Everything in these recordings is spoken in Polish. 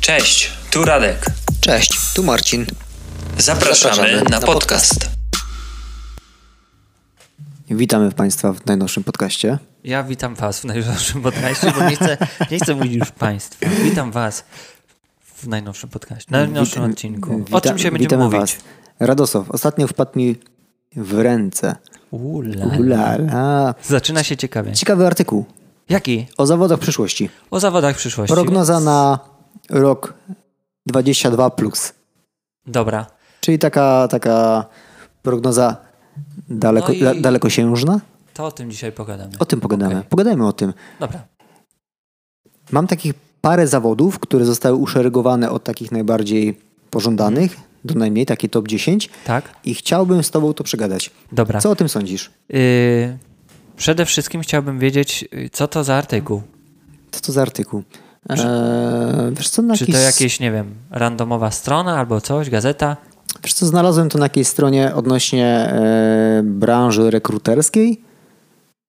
Cześć, tu Radek. Cześć, tu Marcin. Zapraszamy, Zapraszamy na, na podcast. Witamy Państwa w najnowszym podcaście. Ja witam Was w najnowszym podcaście, bo nie chcę, nie chcę mówić już Państwa. Witam Was w najnowszym podcaście, na najnowszym Wit- odcinku. o wita- czym się będziemy witamy mówić? Was. Radosław, ostatnio wpadł mi w ręce. Ula. Ulala. Zaczyna się ciekawie. Ciekawy artykuł Jaki? o zawodach przyszłości. O zawodach przyszłości. Prognoza na rok 22+. Plus, Dobra. czyli taka, taka prognoza daleko, No i- da, dalekosiężna. To o tym dzisiaj pogadamy. O tym pogadamy. Okej. Pogadajmy o tym. Dobra. Mam takich parę zawodów, które zostały uszeregowane od takich najbardziej pożądanych do najmniej, takie top 10 Tak? i chciałbym z tobą to przegadać. Dobra. Co o tym sądzisz? Y, przede wszystkim chciałbym wiedzieć, y, co to za artykuł. Co to za artykuł? Eee, wiesz co, na Czy jakiejś- to jakieś, nie wiem, randomowa strona albo coś, gazeta? wiesz co, znalazłem to na jakiejś stronie odnośnie e, branży rekruterskiej,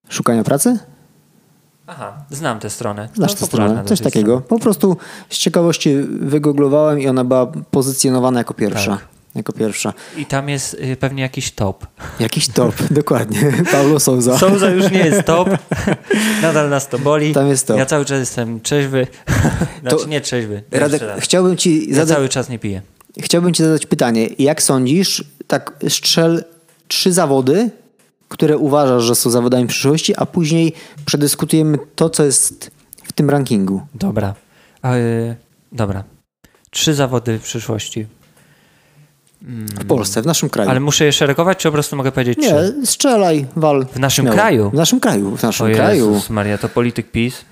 szukania pracy? Aha, znam tę stronę. Znasz No, To tę popularna stronę, coś dosyć takiego. Po prostu z ciekawości wygooglowałem i ona była pozycjonowana jako pierwsza. Tak. Jako pierwsza. strona. I tam jest y, pewnie jakiś top. Jakiś top, dokładnie. Paulo Souza. Souza już nie jest top. Nadal nas to boli. Tam jest top. Ja cały czas jestem trzeźwy. Znaczy To- nie trzeźwy. Radek, Jeszcze raz. chciałbym ci Ja zadać cały czas nie piję. Chciałbym Ci zadać pytanie. Jak sądzisz, tak strzel trzy zawody, które uważasz, że są zawodami przyszłości, a później przedyskutujemy to, co jest w tym rankingu. Dobra. A, y, dobra. Trzy zawody w przyszłości. W Polsce, w naszym kraju. Ale muszę je szeregować, czy po prostu mogę powiedzieć trzy? Nie, strzelaj, wal. W naszym kraju? W naszym kraju, w naszym O kraju. Jezus Maria, to polityk PiS.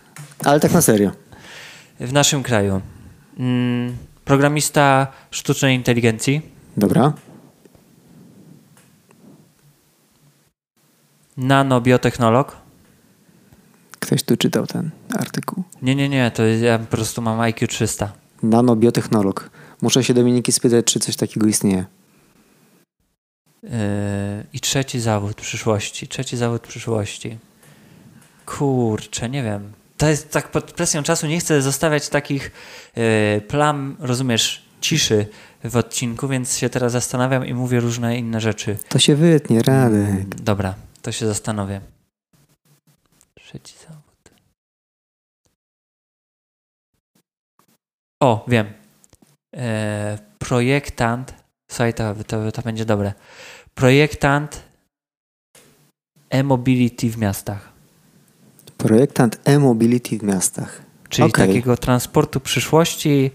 Ale tak na serio. W naszym kraju. Mm, programista sztucznej inteligencji. Dobra. Nanobiotechnolog. Ktoś tu czytał ten artykuł. Nie, nie, nie, to ja po prostu mam IQ 300. Nanobiotechnolog. Muszę się Dominiki spytać, czy coś takiego istnieje. Yy, I trzeci zawód przyszłości. Trzeci zawód przyszłości. Kurczę, nie wiem. To jest tak pod presją czasu. Nie chcę zostawiać takich yy, plam, rozumiesz, ciszy w odcinku, więc się teraz zastanawiam i mówię różne inne rzeczy. To się wytnie, Radek. Dobra, to się zastanowię. Trzeci zawód. O, wiem. E, projektant. Słuchaj, to, to, to będzie dobre. Projektant e-mobility w miastach. Projektant e-mobility w miastach. Czyli Okej. takiego transportu przyszłości,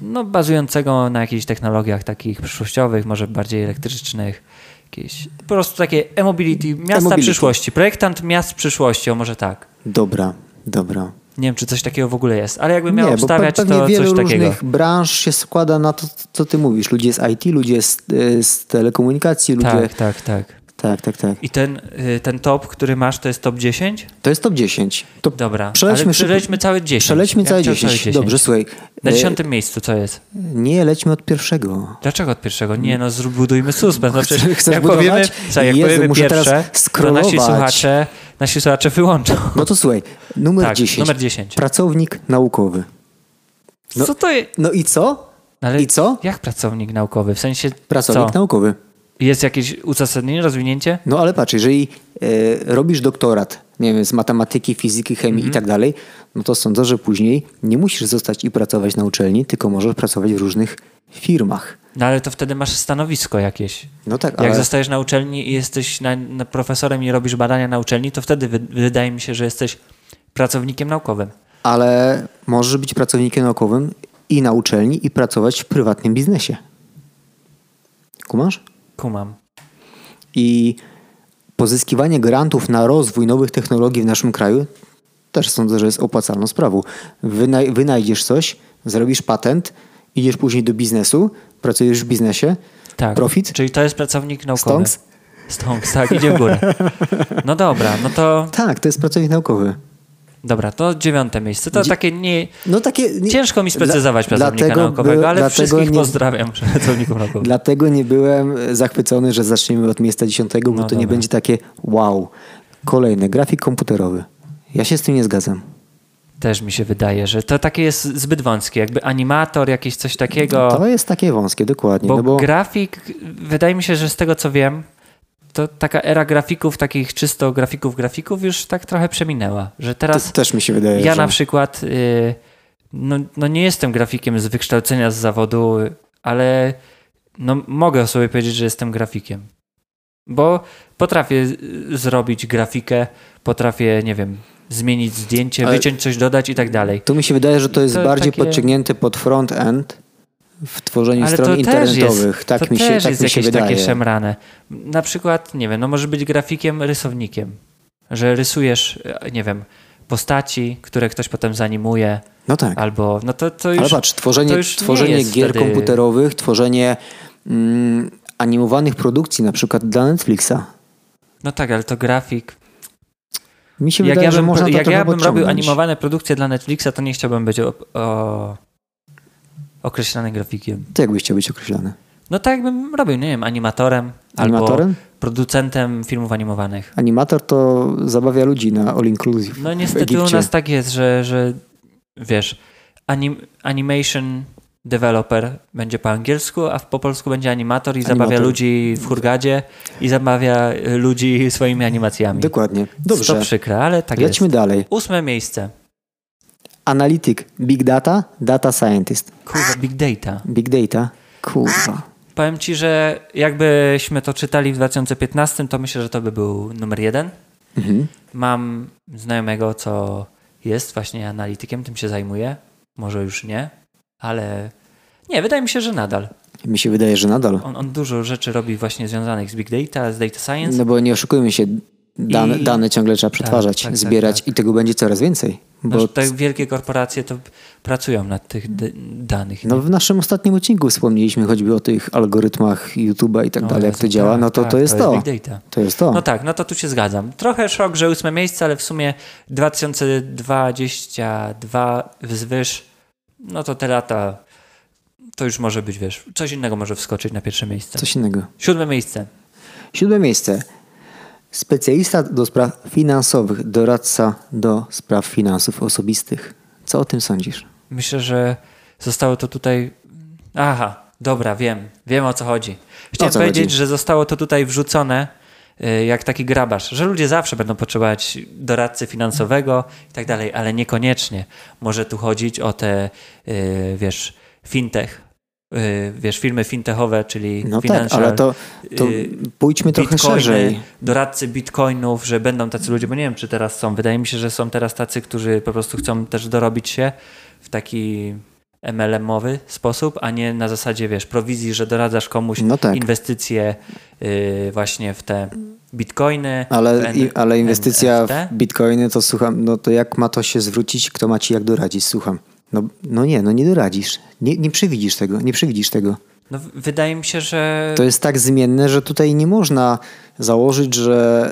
no bazującego na jakichś technologiach takich przyszłościowych, może bardziej elektrycznych. Jakieś, po prostu takie e-mobility, miasta E-mobility. przyszłości. Projektant miast przyszłości, o może tak. Dobra, dobra. Nie wiem, czy coś takiego w ogóle jest, ale jakbym miał nie, bo pe- obstawiać, pewnie to wiele coś takiego. różnych branż się składa na to, co ty mówisz. Ludzie z IT, ludzie z, e, z telekomunikacji, ludzie... Tak, Tak, tak, tak. tak, tak. I ten, y, ten top, który masz, to jest top 10? To jest top 10. To Dobra, Przelećmy ale szybko- przelećmy całe 10. Przelećmy Ja całe chciałem 10. Dobrze, słuchaj. Na e, dziesiątym miejscu co jest? Nie, lećmy od pierwszego. Dlaczego od pierwszego? Nie no, zbudujmy suspens. No przecież Mm. Chcesz jak budować? powiemy, słuchaj, jak Jezu, powiemy muszę teraz pierwsze, to scrollować. nasi słuchacze, nasi słuchacze wyłączą. No to słuchaj, numer Tak, 10. numer 10. Pracownik naukowy. No- co to jest? No i co? Ale I co? Jak pracownik naukowy? W sensie Pracownik co? naukowy. Jest jakieś uzasadnienie, rozwinięcie? No ale patrz, jeżeli e, robisz doktorat, nie wiem, z matematyki, fizyki, chemii i tak dalej, no to sądzę, że później nie musisz zostać i pracować na uczelni, tylko możesz pracować w różnych firmach. No ale to wtedy masz stanowisko jakieś. No tak, Jak ale zostajesz na uczelni i jesteś na, na profesorem i robisz badania na uczelni, to wtedy wy, wydaje mi się, że jesteś pracownikiem naukowym. ale możesz być pracownikiem naukowym i na uczelni, i pracować w prywatnym biznesie. Kumasz? Kumam. I pozyskiwanie grantów na rozwój nowych technologii w naszym kraju też sądzę, że jest opłacalną sprawą. Wynaj- wynajdziesz coś, zrobisz patent, idziesz później do biznesu, pracujesz w biznesie, Tak. profit, Czyli to jest pracownik naukowy. stonks. Stonks, tak, idzie w górę. No dobra, no to Tak, to jest pracownik naukowy. dobra, to dziewiąte miejsce. To Dzie- takie nie. No takie... Nie, Ciężko mi sprecyzować Dla- pracownika dlatego naukowego, by- ale dlatego wszystkich nie- pozdrawiam pracowników naukowych. Dlatego nie byłem zachwycony, że zaczniemy od miejsca dziesiątego, bo No to nie dobra. będzie takie wow. Kolejne, grafik komputerowy. Ja się z tym nie zgadzam. Też mi się wydaje, że to takie jest zbyt wąskie, jakby animator, jakieś coś takiego. No To jest takie wąskie, dokładnie. Bo, no bo grafik, wydaje mi się, że z tego co wiem, to taka era grafików, takich czysto grafików, grafików już tak trochę przeminęła. Że to teraz też mi się wydaje, ja Yy, że... na przykład y, no, no nie jestem grafikiem z wykształcenia, z zawodu, ale no mogę o sobie powiedzieć, że jestem grafikiem. Bo potrafię y, zrobić grafikę, potrafię, nie wiem, zmienić zdjęcie, Ale- wyciąć coś, dodać i tak dalej. Tu mi się wydaje, że to jest To bardziej takie- podciągnięte pod front-end w tworzeniu Ale stron to też internetowych. jest, tak to mi się, też tak jest mi się jakieś wydaje. takie szemrane. Na przykład, nie wiem, no może być grafikiem, rysownikiem, że rysujesz, e, nie wiem, postaci, które ktoś potem zanimuje, No tak. albo, no to, to już... Ale patrz, tworzenie, to już nie tworzenie jest gier wtedy- komputerowych, tworzenie mm, animowanych produkcji, na przykład dla Netflixa. No tak, ale to grafik. Mi się Jak wydaje, ja że bym, można pro- to jak trochę ja bym robił podciągnąć. animowane produkcje dla Netflixa, to nie chciałbym być o, o, określany grafikiem. To jakbyś chciał być określany? No tak jakbym robił, nie wiem, animatorem, Animatorem? albo producentem filmów animowanych. Animator to zabawia ludzi na All Inclusive No w niestety u Egipcie. nas tak jest, że, że wiesz, anim, animation developer będzie po angielsku, a po polsku będzie animator i zabawia Animator. ludzi w hurgadzie i zabawia y, ludzi swoimi animacjami. Dokładnie. To Dobrze, przykre, ale tak lećmy jest. dalej. Ósme miejsce. Analityk, Big Data, Data Scientist. Kurwa, big data. Big Data, kurwa. Tak. Powiem ci, że jakbyśmy to czytali w 2015, to myślę, że to by był numer jeden. Mhm. Mam znajomego, co jest właśnie analitykiem, tym się zajmuje. Może już nie, ale nie, wydaje mi się, że nadal. Mi się wydaje, że nadal. On, on dużo rzeczy robi właśnie związanych z big data, z data science. No bo nie oszukujmy się, dane, I- dane ciągle trzeba przetwarzać, tak, tak, zbierać i tego będzie coraz więcej. Bo no, te wielkie korporacje to pracują nad tych d- danych. no, w naszym ostatnim odcinku wspomnieliśmy choćby o tych algorytmach YouTube'a i tak No dalej, jak Jezu, to działa, tak, no to tak, to jest to. Big data. To jest to. No tak, no to tu się zgadzam. Trochę szok, że ósme miejsce, ale w sumie 2022 wzwyż, no to te lata, to już może być, wiesz, coś innego może wskoczyć na pierwsze miejsce. Coś innego. Siódme miejsce. Siódme miejsce. Specjalista do spraw finansowych, doradca do spraw finansów osobistych. Co o tym sądzisz? Myślę, że zostało to tutaj. Aha, dobra, wiem. Wiem o co chodzi. Chciałem O co powiedzieć, chodzi? że zostało to tutaj wrzucone y, jak taki grabarz, że ludzie zawsze będą potrzebować doradcy finansowego i tak dalej, ale niekoniecznie może tu chodzić o te, y, wiesz, fintech, y, wiesz, firmy fintechowe, czyli No tak, financial, ale to, to y, pójdźmy trochę bitcoiny, szerzej. doradcy bitcoinów, że będą tacy ludzie, bo nie wiem, czy teraz są. Wydaje mi się, że są teraz tacy, którzy po prostu chcą też dorobić się w taki MLM-owy sposób, a nie na zasadzie, wiesz, prowizji, że doradzasz komuś No tak. inwestycje yy, właśnie w te bitcoiny. w Ale, N- i, ale inwestycja NFT. w bitcoiny, to słucham, no to jak ma to się zwrócić, kto ma ci jak doradzić, słucham. No, no nie, no nie doradzisz. Nie, nie przewidzisz tego, nie przewidzisz tego. No, w- wydaje mi się, że... To jest tak zmienne, że tutaj nie można założyć, że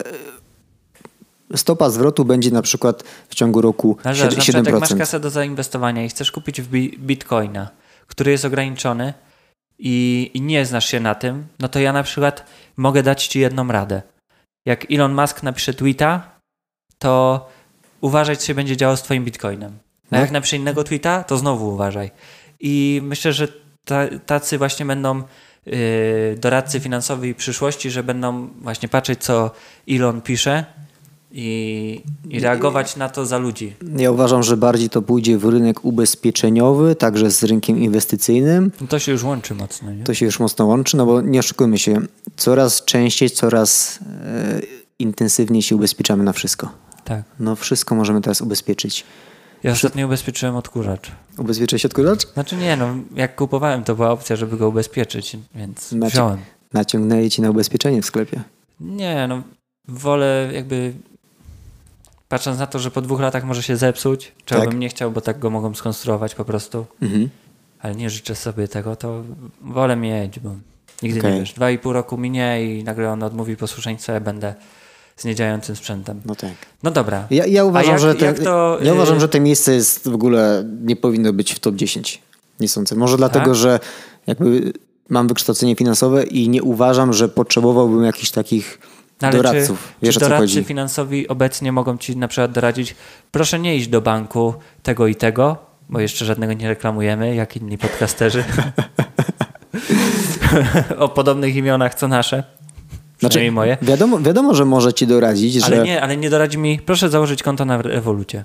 stopa zwrotu będzie na przykład w ciągu roku No, ale sied- zobacz, na przykład jak masz 7%. kasę do zainwestowania i chcesz kupić w bi- bitcoina, który jest ograniczony i, i nie znasz się na tym, no to ja na przykład mogę dać ci jedną radę. Jak Elon Musk napisze tweeta, to uważaj, co się będzie działo z twoim bitcoinem. A No. jak napisze innego tweeta, to znowu uważaj. I myślę, że ta, tacy właśnie będą yy, doradcy finansowi przyszłości, że będą właśnie patrzeć, co Elon pisze i, i reagować na to za ludzi. Ja uważam, że bardziej to pójdzie w rynek ubezpieczeniowy, także z rynkiem inwestycyjnym. No to się już łączy mocno, nie? To się już mocno łączy, no bo nie oszukujmy się, coraz częściej, coraz e, intensywniej się ubezpieczamy na wszystko. Tak. No wszystko możemy teraz ubezpieczyć. Ja ostatnio ubezpieczyłem odkurzacz. Ubezpieczę się odkurzacz? Znaczy nie, no jak kupowałem, to była opcja, żeby go ubezpieczyć, więc Znaczy- wziąłem. Naciągnęli ci na ubezpieczenie w sklepie. Nie, no wolę jakby... Patrząc na to, że po dwóch latach może się zepsuć, czego Tak. bym nie chciał, bo tak go mogą skonstruować po prostu, Mhm. ale nie życzę sobie tego, to wolę mieć, bo nigdy nie Okej. wiesz. Dwa i pół roku minie i nagle on odmówi posłuszeństwa, ja będę z niedziałającym sprzętem. No tak. No dobra. Ja, ja, uważam, jak- że te, jak to, ja y- uważam, że to miejsce jest w ogóle nie powinno być w top 10. Nie sądzę. Tak? Może dlatego, że jakby mam wykształcenie finansowe i nie uważam, że potrzebowałbym jakichś takich ale doradców. Czy, Wiesz, czy o co doradcy chodzi. finansowi obecnie mogą ci na przykład doradzić, proszę nie iść do banku tego i tego, bo jeszcze żadnego nie reklamujemy, jak inni podcasterzy. o podobnych imionach co nasze. Znaczy, Przynajmniej No moje. Wiadomo, wiadomo, że może ci doradzić, Ale że nie, ale nie doradzi mi, proszę założyć konto na rewolucie.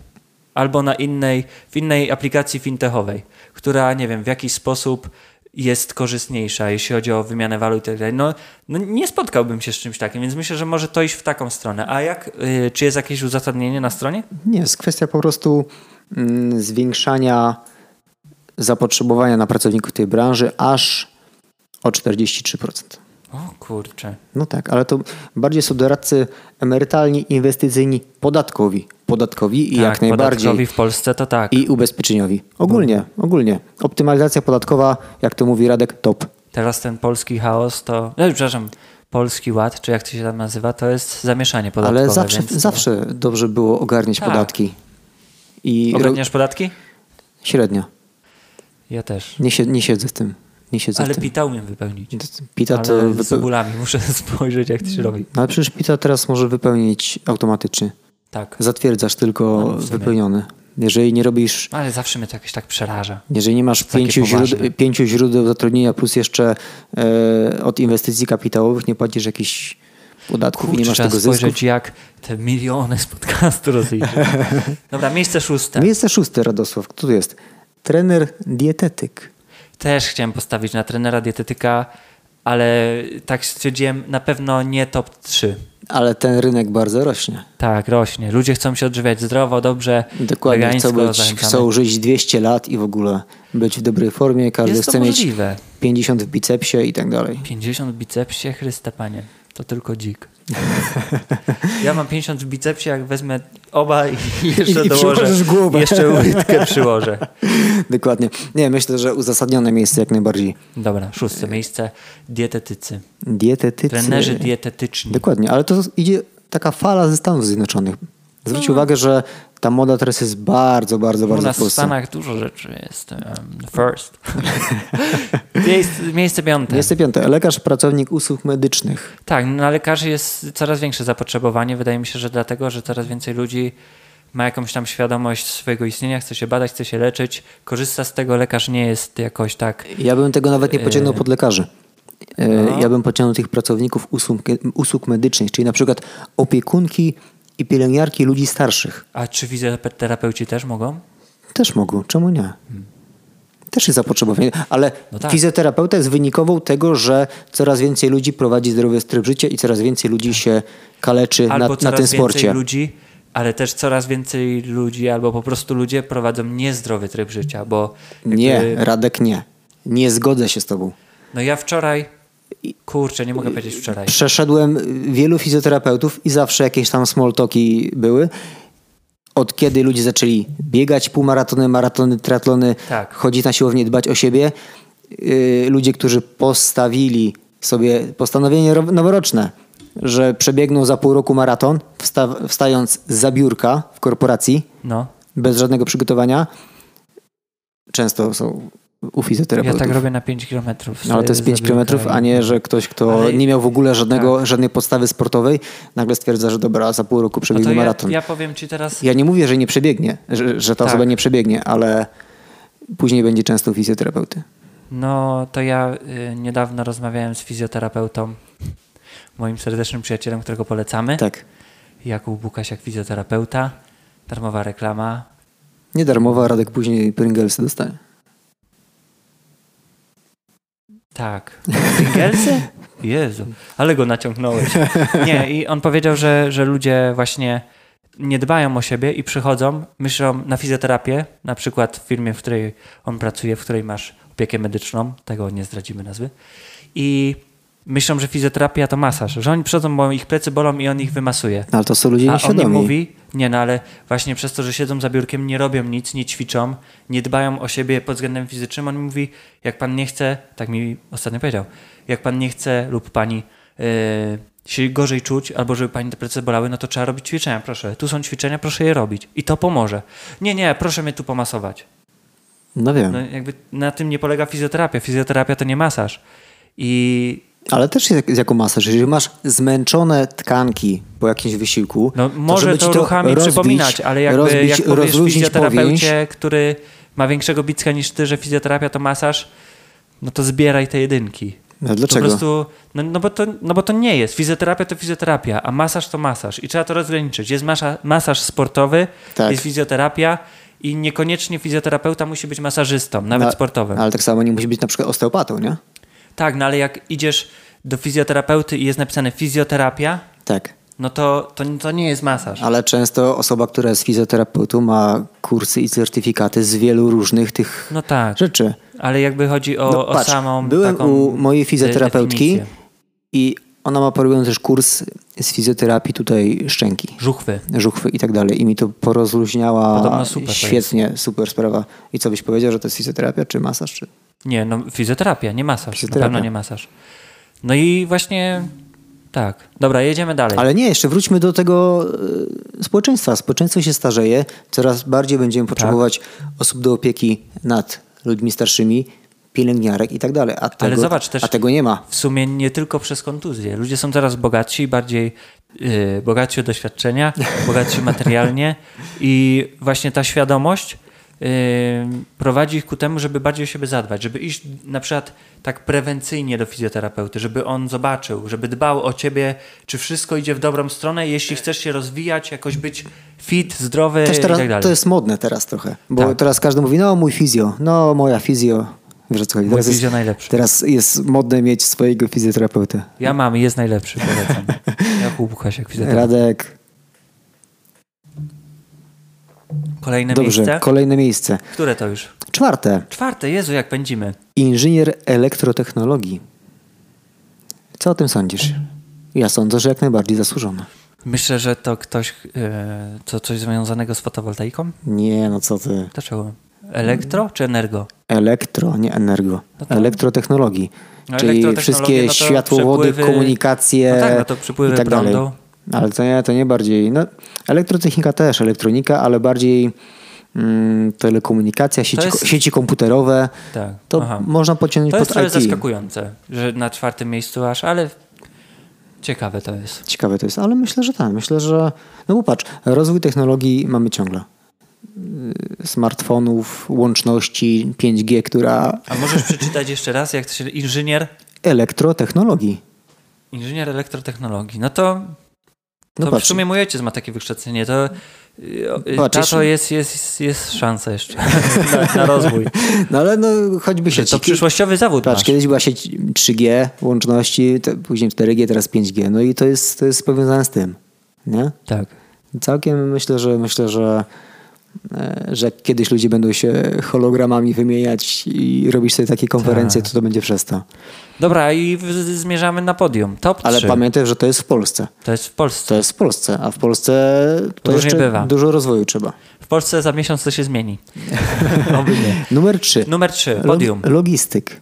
Albo na innej, w innej aplikacji fintechowej, która nie wiem, w jakiś sposób jest korzystniejsza, jeśli chodzi o wymianę walut i tak dalej. No, no nie spotkałbym się z czymś takim, więc myślę, że może to iść w taką stronę. A jak, y, czy jest jakieś uzasadnienie na stronie? Nie, jest kwestia po prostu mm, zwiększania zapotrzebowania na pracowników tej branży aż o 43%. O kurczę. No tak, ale to bardziej są doradcy emerytalni, inwestycyjni, podatkowi. Podatkowi i tak, jak najbardziej. podatkowi No. w Polsce to tak. I ubezpieczeniowi. Ogólnie, ogólnie. Optymalizacja podatkowa, jak to mówi Radek, top. Teraz ten polski chaos to, no, przepraszam, polski ład, czy jak to się tam nazywa, to jest zamieszanie podatkowe. Ale zawsze, więc to- zawsze dobrze było ogarniać Tak. podatki. I ro- Ogarniasz podatki? średnio. Ja też. Nie, sie- nie siedzę w tym. Nie siedzę Ale w tym. pita umiem wypełnić. Pita ale to z wype- ogólami muszę spojrzeć, jak to się robi. No ale przecież pita teraz może wypełnić automatycznie. Tak. Zatwierdzasz tylko No, w sumie. wypełniony. Jeżeli nie robisz, Ale zawsze mnie to jakoś tak przeraża. jeżeli nie masz Takie pięciu, poważne. źród- pięciu źródeł zatrudnienia plus jeszcze e, od inwestycji kapitałowych nie płacisz jakichś podatków i Kurczę, nie masz trzeba tego spojrzeć, zysku. jak te miliony z podcastu rozliczy. Dobra, miejsce szóste. Miejsce szóste, Radosław. Kto tu jest? Trener dietetyk. Też chciałem postawić na trenera dietetyka, ale tak stwierdziłem, na pewno nie top 3. Ale ten rynek bardzo rośnie. Tak, rośnie. Ludzie chcą się odżywiać zdrowo, dobrze. Dokładnie. wegańsko, Chcą, być, zachęcamy. chcą żyć 200 lat i w ogóle być w dobrej formie. Każdy Jest to chce mieć możliwe. 50 w bicepsie i tak dalej. 50 w bicepsie, Chryste Panie. To tylko dzik. Ja mam 50 w bicepsie, jak wezmę oba i jeszcze I- i dołożę. przyłożysz głowę. Jeszcze łydkę przyłożę. Dokładnie. Nie, myślę, że uzasadnione miejsce jak najbardziej. Dobra, szóste miejsce. Dietetycy. Dietetycy. Trenerzy dietetyczni. Dokładnie, ale to idzie taka fala ze Stanów Zjednoczonych. Zwróć uwagę, że ta moda teraz jest bardzo, bardzo, No. U bardzo nas w w Polsce. Stanach dużo rzeczy jest. em, First. Miejsce, miejsce piąte. Miejsce piąte. Lekarz, pracownik usług medycznych. Tak, na lekarzy jest coraz większe zapotrzebowanie. Wydaje mi się, że dlatego, że coraz więcej ludzi ma jakąś tam świadomość swojego istnienia, chce się badać, chce się leczyć, korzysta z tego. Lekarz nie jest jakoś tak. Ja bym tego nawet nie pociągnął Yy. pod lekarzy. Yy, No. Ja bym pociągnął tych pracowników usług, usług medycznych, czyli na przykład opiekunki i pielęgniarki ludzi starszych. A czy fizjoterapeuci też mogą? Też mogą, czemu nie? Też jest zapotrzebowanie, ale No tak. fizjoterapeuta jest wynikową tego, że coraz więcej ludzi prowadzi zdrowy tryb życia i coraz więcej ludzi się kaleczy na, Albo na coraz tym więcej sporcie. ludzi, ale też coraz więcej ludzi, albo po prostu ludzie prowadzą niezdrowy tryb życia, bo jakby- Nie, Radek nie. Nie zgodzę się z tobą. No ja wczoraj, kurczę, nie mogę powiedzieć wczoraj. Przeszedłem wielu fizjoterapeutów i zawsze jakieś tam small talki były. Od kiedy ludzie zaczęli biegać półmaratony, maratony, triatlony, Tak. chodzić na siłownię, dbać o siebie. Yy, ludzie, którzy postawili sobie postanowienie ro- noworoczne, że przebiegną za pół roku maraton, wsta- wstając za biurka w korporacji, No, bez żadnego przygotowania, często są u ja fizjoterapeutów. tak robię na 5 kilometrów. No No, ale to jest 5 km, a nie, że ktoś, kto Ale- tak. nie miał w ogóle żadnego, żadnej podstawy sportowej, nagle stwierdza, że dobra, za pół roku No przebiegnie to ja, maraton. Ja, ja powiem ci teraz, nie mówię, że nie przebiegnie, że, że ta Tak. osoba nie przebiegnie, ale później będzie często u fizjoterapeuty. No, to ja y, niedawno rozmawiałem z fizjoterapeutą, moim serdecznym przyjacielem, którego polecamy. Tak. Jakub Bukasiak, fizjoterapeuta. Darmowa reklama. Niedarmowa, Radek później Pringlesy dostanie. Tak. Pringelsy? Jezu, ale go naciągnąłeś. Nie, i on powiedział, że, że ludzie właśnie nie dbają o siebie i przychodzą, myślą na fizjoterapię, na przykład w firmie, w której on pracuje, w której masz opiekę medyczną, tego nie zdradzimy nazwy, i myślą, że fizjoterapia to masaż, że oni przychodzą, bo ich plecy bolą i on ich wymasuje. No, ale to są ludzie A on nie nieświadomi. mówi, nie no, ale właśnie przez to, że siedzą za biurkiem, nie robią nic, nie ćwiczą, nie dbają o siebie pod względem fizycznym, on mówi, jak pan nie chce, tak mi ostatnio powiedział, jak pan nie chce lub pani yy, się gorzej czuć, albo żeby pani te plecy bolały, no to trzeba robić ćwiczenia, proszę. Tu są ćwiczenia, proszę je robić. I to pomoże. Nie, nie, proszę mnie tu pomasować. No wiem. No jakby na tym nie polega fizjoterapia. Fizjoterapia to nie masaż. I Ale też jak- jako masaż, jeżeli masz zmęczone tkanki po jakimś wysiłku, No, może żeby to, ci to ruchami rozbić, przypominać, ale jakby, rozbić, jak powiesz rozluźnić fizjoterapeucie, powięź, który ma większego bicka niż ty, że fizjoterapia to masaż, no to zbieraj te jedynki. No, dlaczego? Po prostu, no, no, bo to, no bo to nie jest. Fizjoterapia to fizjoterapia, a masaż to masaż. I trzeba to rozgraniczyć. Jest masza, masaż sportowy, Tak. jest fizjoterapia i niekoniecznie fizjoterapeuta musi być masażystą, nawet No, sportowym. Ale tak samo nie musi być na przykład osteopatą, nie? Tak, no ale jak idziesz do fizjoterapeuty i jest napisane fizjoterapia, Tak. no to, to, to nie jest masaż. Ale często osoba, która jest fizjoterapeutą, ma kursy i certyfikaty z wielu różnych tych No tak. rzeczy. Ale jakby chodzi o, No, o patrz, samą. byłem taką u mojej de- fizjoterapeutki definicję. i ona ma porobiony też kurs z fizjoterapii tutaj szczęki, Żuchwy. żuchwy i tak dalej. I mi to porozluźniała Podobno super to świetnie, super sprawa. I co byś powiedział, że to jest fizjoterapia czy masaż? Czy... Nie, no fizjoterapia, nie masaż. Fizjoterapia. Na pewno nie masaż. No i właśnie tak. Dobra, jedziemy dalej. Ale nie, jeszcze wróćmy do tego e, społeczeństwa. Społeczeństwo się starzeje, coraz bardziej będziemy Tak. potrzebować osób do opieki nad ludźmi starszymi, pielęgniarek i tak dalej. A tego, zobacz też- a tego nie ma. W sumie nie tylko przez kontuzję. Ludzie są coraz bogatsi, bardziej yy, bogatsi o doświadczenia, bogatsi materialnie i właśnie ta świadomość yy, prowadzi ich ku temu, żeby bardziej o siebie zadbać, żeby iść na przykład tak prewencyjnie do fizjoterapeuty, żeby on zobaczył, żeby dbał o ciebie, czy wszystko idzie w dobrą stronę, jeśli chcesz się rozwijać, jakoś być fit, zdrowy Też i teraz, tak dalej. to jest modne teraz trochę, bo Tak. teraz każdy mówi, no mój fizjo, no moja fizjo. Wiesz o co chodzi. Teraz fizjo jest, najlepszy. Teraz jest modne mieć swojego fizjoterapeutę. Ja mam, i jest najlepszy, polecam. Jakub E, Łukasiak, fizjoterapeuta. Radek, Kolejne dobrze, miejsce. kolejne miejsce. Które to już? Czwarte, Czwarte, Jezu, jak pędzimy. inżynier elektrotechnologii. Co o tym sądzisz? Ja sądzę, że jak najbardziej zasłużona. Myślę, że to ktoś, e, co coś związanego z fotowoltaiką? Nie, no co ty. Dlaczego? Mm. Elektro czy energo? Elektro, nie energo. No to- Elektrotechnologii. No czyli elektrotechnologie, wszystkie no to światłowody, przepływy- komunikacje No tak, no to przepływy i tak dalej. prądu. Ale to nie, to nie bardziej. No, elektrotechnika też, elektronika, ale bardziej mm, telekomunikacja, sieci, jest- ko- sieci komputerowe. Tak, To aha. można pociągnąć To jest pod trochę IT. zaskakujące, że na czwartym miejscu aż, ale ciekawe to jest. Ciekawe to jest, ale myślę, że tak. Myślę, że. No bo patrz, rozwój technologii mamy ciągle. Yy, Smartfonów, łączności, 5G, która. A możesz przeczytać jeszcze raz, jak to się... Inżynier, Elektrotechnologii. inżynier elektrotechnologii. No to, No to w patrz, sumie mój ojciec ma takie wykształcenie. To, y, o- y, Patrz, tato jeśli- jest, jest, jest szansa jeszcze na, na rozwój. No ale no choćby sieci. To przyszłościowy zawód Patrz, masz. kiedyś była sieć 3G, łączności, te, później 4G, teraz 5G. No i to jest, to jest powiązane z tym. Nie? Tak. Całkiem myślę, że myślę, że, e, że jak kiedyś ludzie będą się hologramami wymieniać i robisz sobie takie konferencje, Tak. to to będzie przez to. Dobra, i w- z- zmierzamy na podium. Top Ale 3. pamiętaj, że to jest w Polsce. To jest w Polsce. To jest w Polsce, a w Polsce to Różnie jeszcze bywa. dużo rozwoju trzeba. W Polsce za miesiąc to się zmieni. Oby nie. Numer 3. Numer 3. Podium. Logistyk.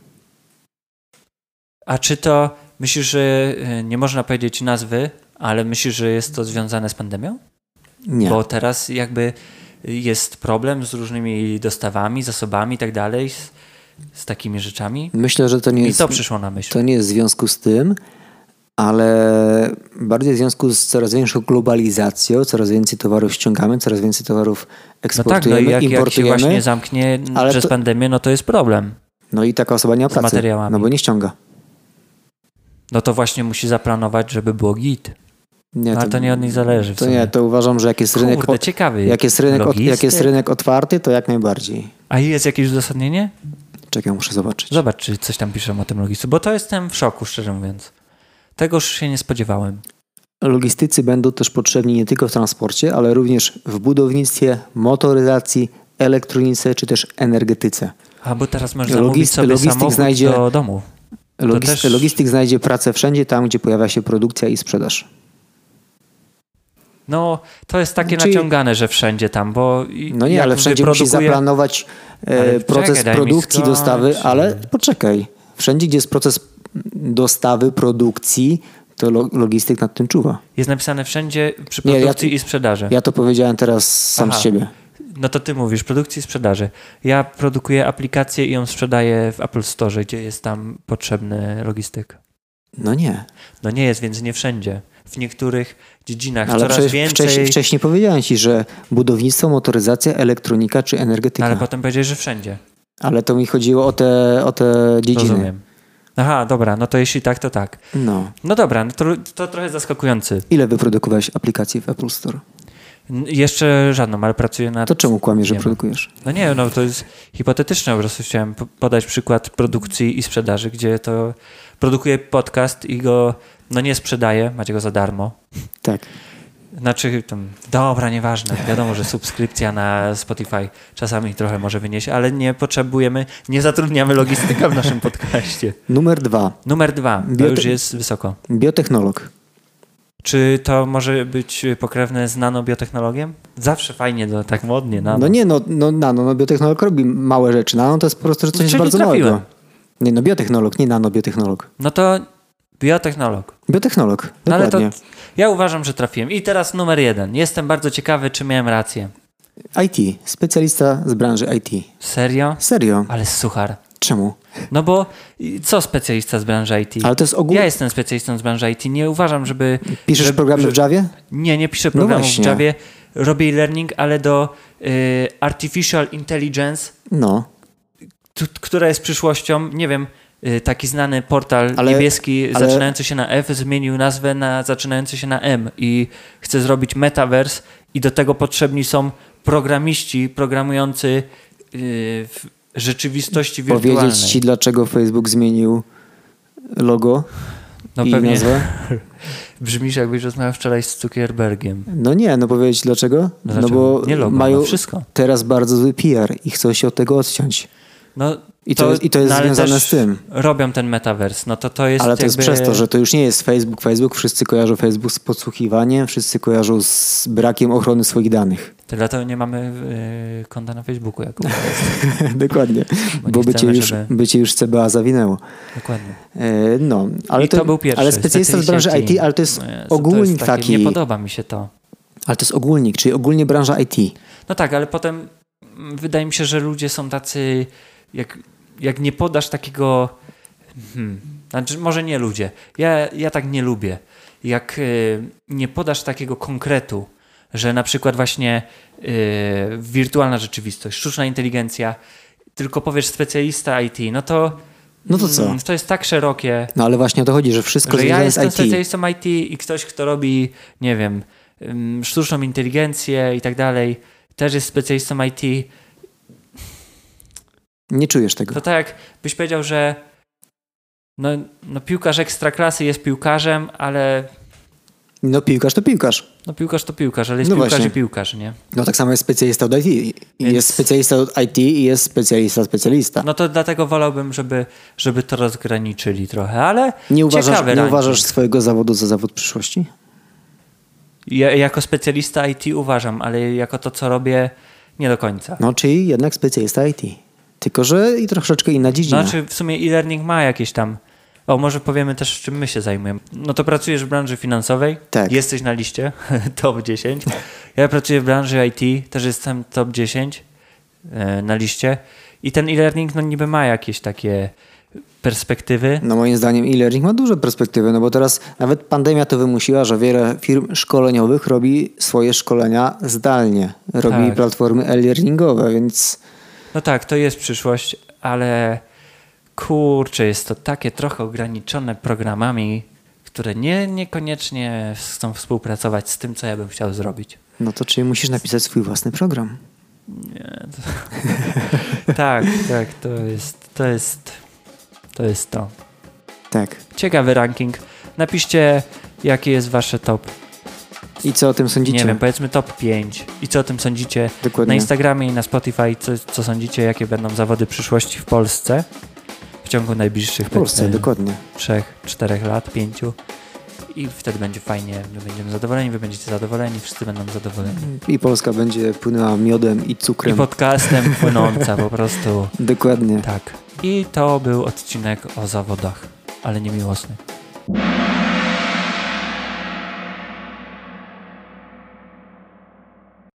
A czy to myślisz, że y, nie można powiedzieć nazwy, ale myślisz, że jest to związane z pandemią? Nie. Bo teraz jakby jest problem z różnymi dostawami, zasobami i tak dalej, z, z takimi rzeczami. Myślę, że to nie I jest... to przyszło na myśl. To nie jest w związku z tym, ale bardziej w związku z coraz większą globalizacją, coraz więcej towarów ściągamy, coraz więcej No towarów tak, no eksportujemy, i jak, jak się importujemy. właśnie zamknie n- ale przez to- pandemię, no to jest problem. no i taka osoba nie ma z pracy, materiałami. no bo nie ściąga. No to właśnie musi zaplanować, żeby było git. Nie, No, ale to nie od nich zależy. w To sumie. nie, to uważam, że jak jest rynek, Kurde, ciekawy. jak jest rynek, od, jak jest Logistyk. rynek otwarty, to jak najbardziej. A jest jakieś uzasadnienie? Czekaj, muszę zobaczyć. Zobacz, czy coś tam piszą o tym logistyku, bo to jestem w szoku, szczerze mówiąc. Tego już się nie spodziewałem. Logistycy będą też potrzebni nie tylko w transporcie, ale również w budownictwie, motoryzacji, elektronice czy też energetyce. A bo teraz masz Logist- zamówić sobie logistyk samochód znajdzie- do domu. Logis- też- Logistyk znajdzie pracę wszędzie tam, gdzie pojawia się produkcja i sprzedaż. No, to jest takie Czyli- naciągane, że wszędzie tam, bo... i- Znaczy- No nie, jak ale wszędzie musi wyprodukuje- zaplanować e, Ale proces czekaj, daj mi produkcji, skończyć. dostawy, ale poczekaj. Wszędzie, gdzie jest proces dostawy, produkcji, to lo- logistyk nad tym czuwa. Jest napisane wszędzie przy Nie, ja- produkcji i sprzedaży. Ja to powiedziałem teraz sam Tak. Aha. z siebie. No to ty mówisz, produkcji i sprzedaży. Ja produkuję aplikację i ją sprzedaję w Apple Store, gdzie jest tam potrzebny logistyk. No nie, No nie jest, więc nie wszędzie. W niektórych dziedzinach ale coraz przecież więcej. wcześniej, wcześniej powiedziałem ci, że budownictwo, motoryzacja, elektronika czy no, energetyka. ale Ale, potem powiedziałeś, że wszędzie. to mi chodziło o te, o te dziedziny. Rozumiem. Aha, dobra, no to jeśli tak, to tak. No. No dobra, no to, to trochę zaskakujący. Ile wyprodukowałeś aplikacji w Apple Store? N- Jeszcze żadną, ale pracuję nad. To czemu kłamiesz, że Nie ma. produkujesz? No nie, no to jest hipotetyczne, po prostu chciałem po- podać przykład produkcji i sprzedaży, gdzie to produkuję podcast i go, no nie sprzedaję, macie go za darmo. Tak. Znaczy, tam, dobra, nieważne, wiadomo, że subskrypcja na Spotify czasami trochę może wynieść, ale nie potrzebujemy, nie zatrudniamy logistyka w naszym podcaście. Numer dwa. Numer dwa, to Biote- już jest wysoko. Biotechnolog. Czy to może być pokrewne z nanobiotechnologiem? Zawsze fajnie, no, tak modnie, nano. No nie, no, no, nano, no biotechnolog robi małe rzeczy. Nano to jest po prostu że coś No, Czyli bardzo trafiłem. małego. Nie, no biotechnolog, nie nanobiotechnolog. no to biotechnolog. Biotechnolog, No ale to dokładnie. ja uważam, że trafiłem. I teraz numer jeden. Jestem bardzo ciekawy, czy miałem rację. IT, specjalista z branży IT. Serio? Serio, Ale suchar. czemu? No bo i co specjalista z branży IT? Ale to jest ogólnie... Ja jestem specjalistą z branży IT. Nie uważam, żeby. Piszesz żeby, programy w Javie? Nie, nie piszę programów No właśnie. w Javie. Robię e-learning, ale do y, Artificial Intelligence, No, tu, która jest przyszłością. Nie wiem, y, taki znany portal Ale- niebieski ale- zaczynający się na F zmienił nazwę na zaczynający się na M i chce zrobić metaverse i do tego potrzebni są programiści programujący y, w rzeczywistości wirtualnej. powiedzieć ci, dlaczego Facebook zmienił logo no i pewnie nazwę? brzmisz jakbyś rozmawiał wczoraj z Zuckerbergiem. No nie, no powiedzieć dlaczego? No, No, dlaczego? bo Nie logo, mają no wszystko. teraz bardzo zły PR i chcą się od tego odciąć. No, I to jest- i to jest ale związane też z tym. Robią ten metavers. No to to jest. Ale to jest jakby... przez to, że to już nie jest Facebook. Facebook, wszyscy kojarzą Facebook z podsłuchiwaniem, wszyscy kojarzą z brakiem ochrony swoich danych. To dlatego nie mamy yy, konta na Facebooku. Jak Dokładnie, nie bo by cię, chcemy, już, żeby- by cię już CBA zawinęło. Dokładnie. E, No, ale I to, był pierwszy. Ale specjalista z branży IT, ale to jest No Jezu, to ogólnik jest takie, taki. Nie podoba mi się to. Ale to jest ogólnik, czyli ogólnie branża IT. No tak, ale potem mm, wydaje mi się, że ludzie są tacy, jak, jak nie podasz takiego. Hmm, znaczy, może nie ludzie. Ja, ja tak nie lubię. Jak y, nie podasz takiego konkretu, że na przykład właśnie y, wirtualna rzeczywistość, sztuczna inteligencja, tylko powiesz specjalista IT, no to. No to co? mm, To jest tak szerokie, No ale właśnie o to chodzi, że wszystko że ja związane jestem z IT. specjalistą IT i ktoś, kto robi, nie wiem, ym, sztuczną inteligencję i tak dalej, też jest specjalistą IT, Nie czujesz tego. to tak byś powiedział, że no, no piłkarz ekstraklasy jest piłkarzem, ale No piłkarz to piłkarz. no piłkarz to piłkarz, ale jest No piłkarz właśnie. i piłkarz, nie? No tak samo jest specjalista od IT. I Więc- Jest specjalista od IT i jest specjalista specjalista. No to dlatego wolałbym, żeby, żeby to rozgraniczyli trochę, ale nie uważasz, ciekawy nie ranking. uważasz swojego zawodu za zawód przyszłości? Ja, jako specjalista IT uważam, ale jako to, co robię, nie do końca. No czyli jednak specjalista IT. Tylko, że i troszeczkę inna dziedzina. Znaczy w sumie e-learning ma jakieś tam. O, może powiemy też, czym my się zajmujemy. No to pracujesz w branży finansowej. Tak. Jesteś na liście top 10. Ja pracuję w branży IT, też jestem top 10 e, na liście. I ten e-learning no niby ma jakieś takie perspektywy. No moim zdaniem e-learning ma duże perspektywy, no bo teraz nawet pandemia to wymusiła, że wiele firm szkoleniowych robi swoje szkolenia zdalnie. Robi Tak. platformy e-learningowe, więc No tak, to jest przyszłość, ale kurczę, jest to takie trochę ograniczone programami, które nie, niekoniecznie chcą współpracować z tym, co ja bym chciał zrobić. no to czyli musisz napisać swój własny program. Tak, tak, to jest, to jest, to jest to. Tak. Ciekawy ranking. Napiszcie, jakie jest wasze top. I co o tym sądzicie? Nie wiem, powiedzmy top 5. I co o tym sądzicie na Dokładnie. Instagramie i na Spotify? Co, co sądzicie, jakie będą zawody przyszłości w Polsce w ciągu najbliższych W Polsce, powiedzmy, dokładnie. trzech, czterech lat, pięciu. I wtedy będzie fajnie, my będziemy zadowoleni, wy będziecie zadowoleni, wszyscy będą zadowoleni. I Polska będzie płynęła miodem i I cukrem. podcastem płynąca po prostu. Dokładnie. Tak. I to był odcinek o zawodach, ale nie miłosny.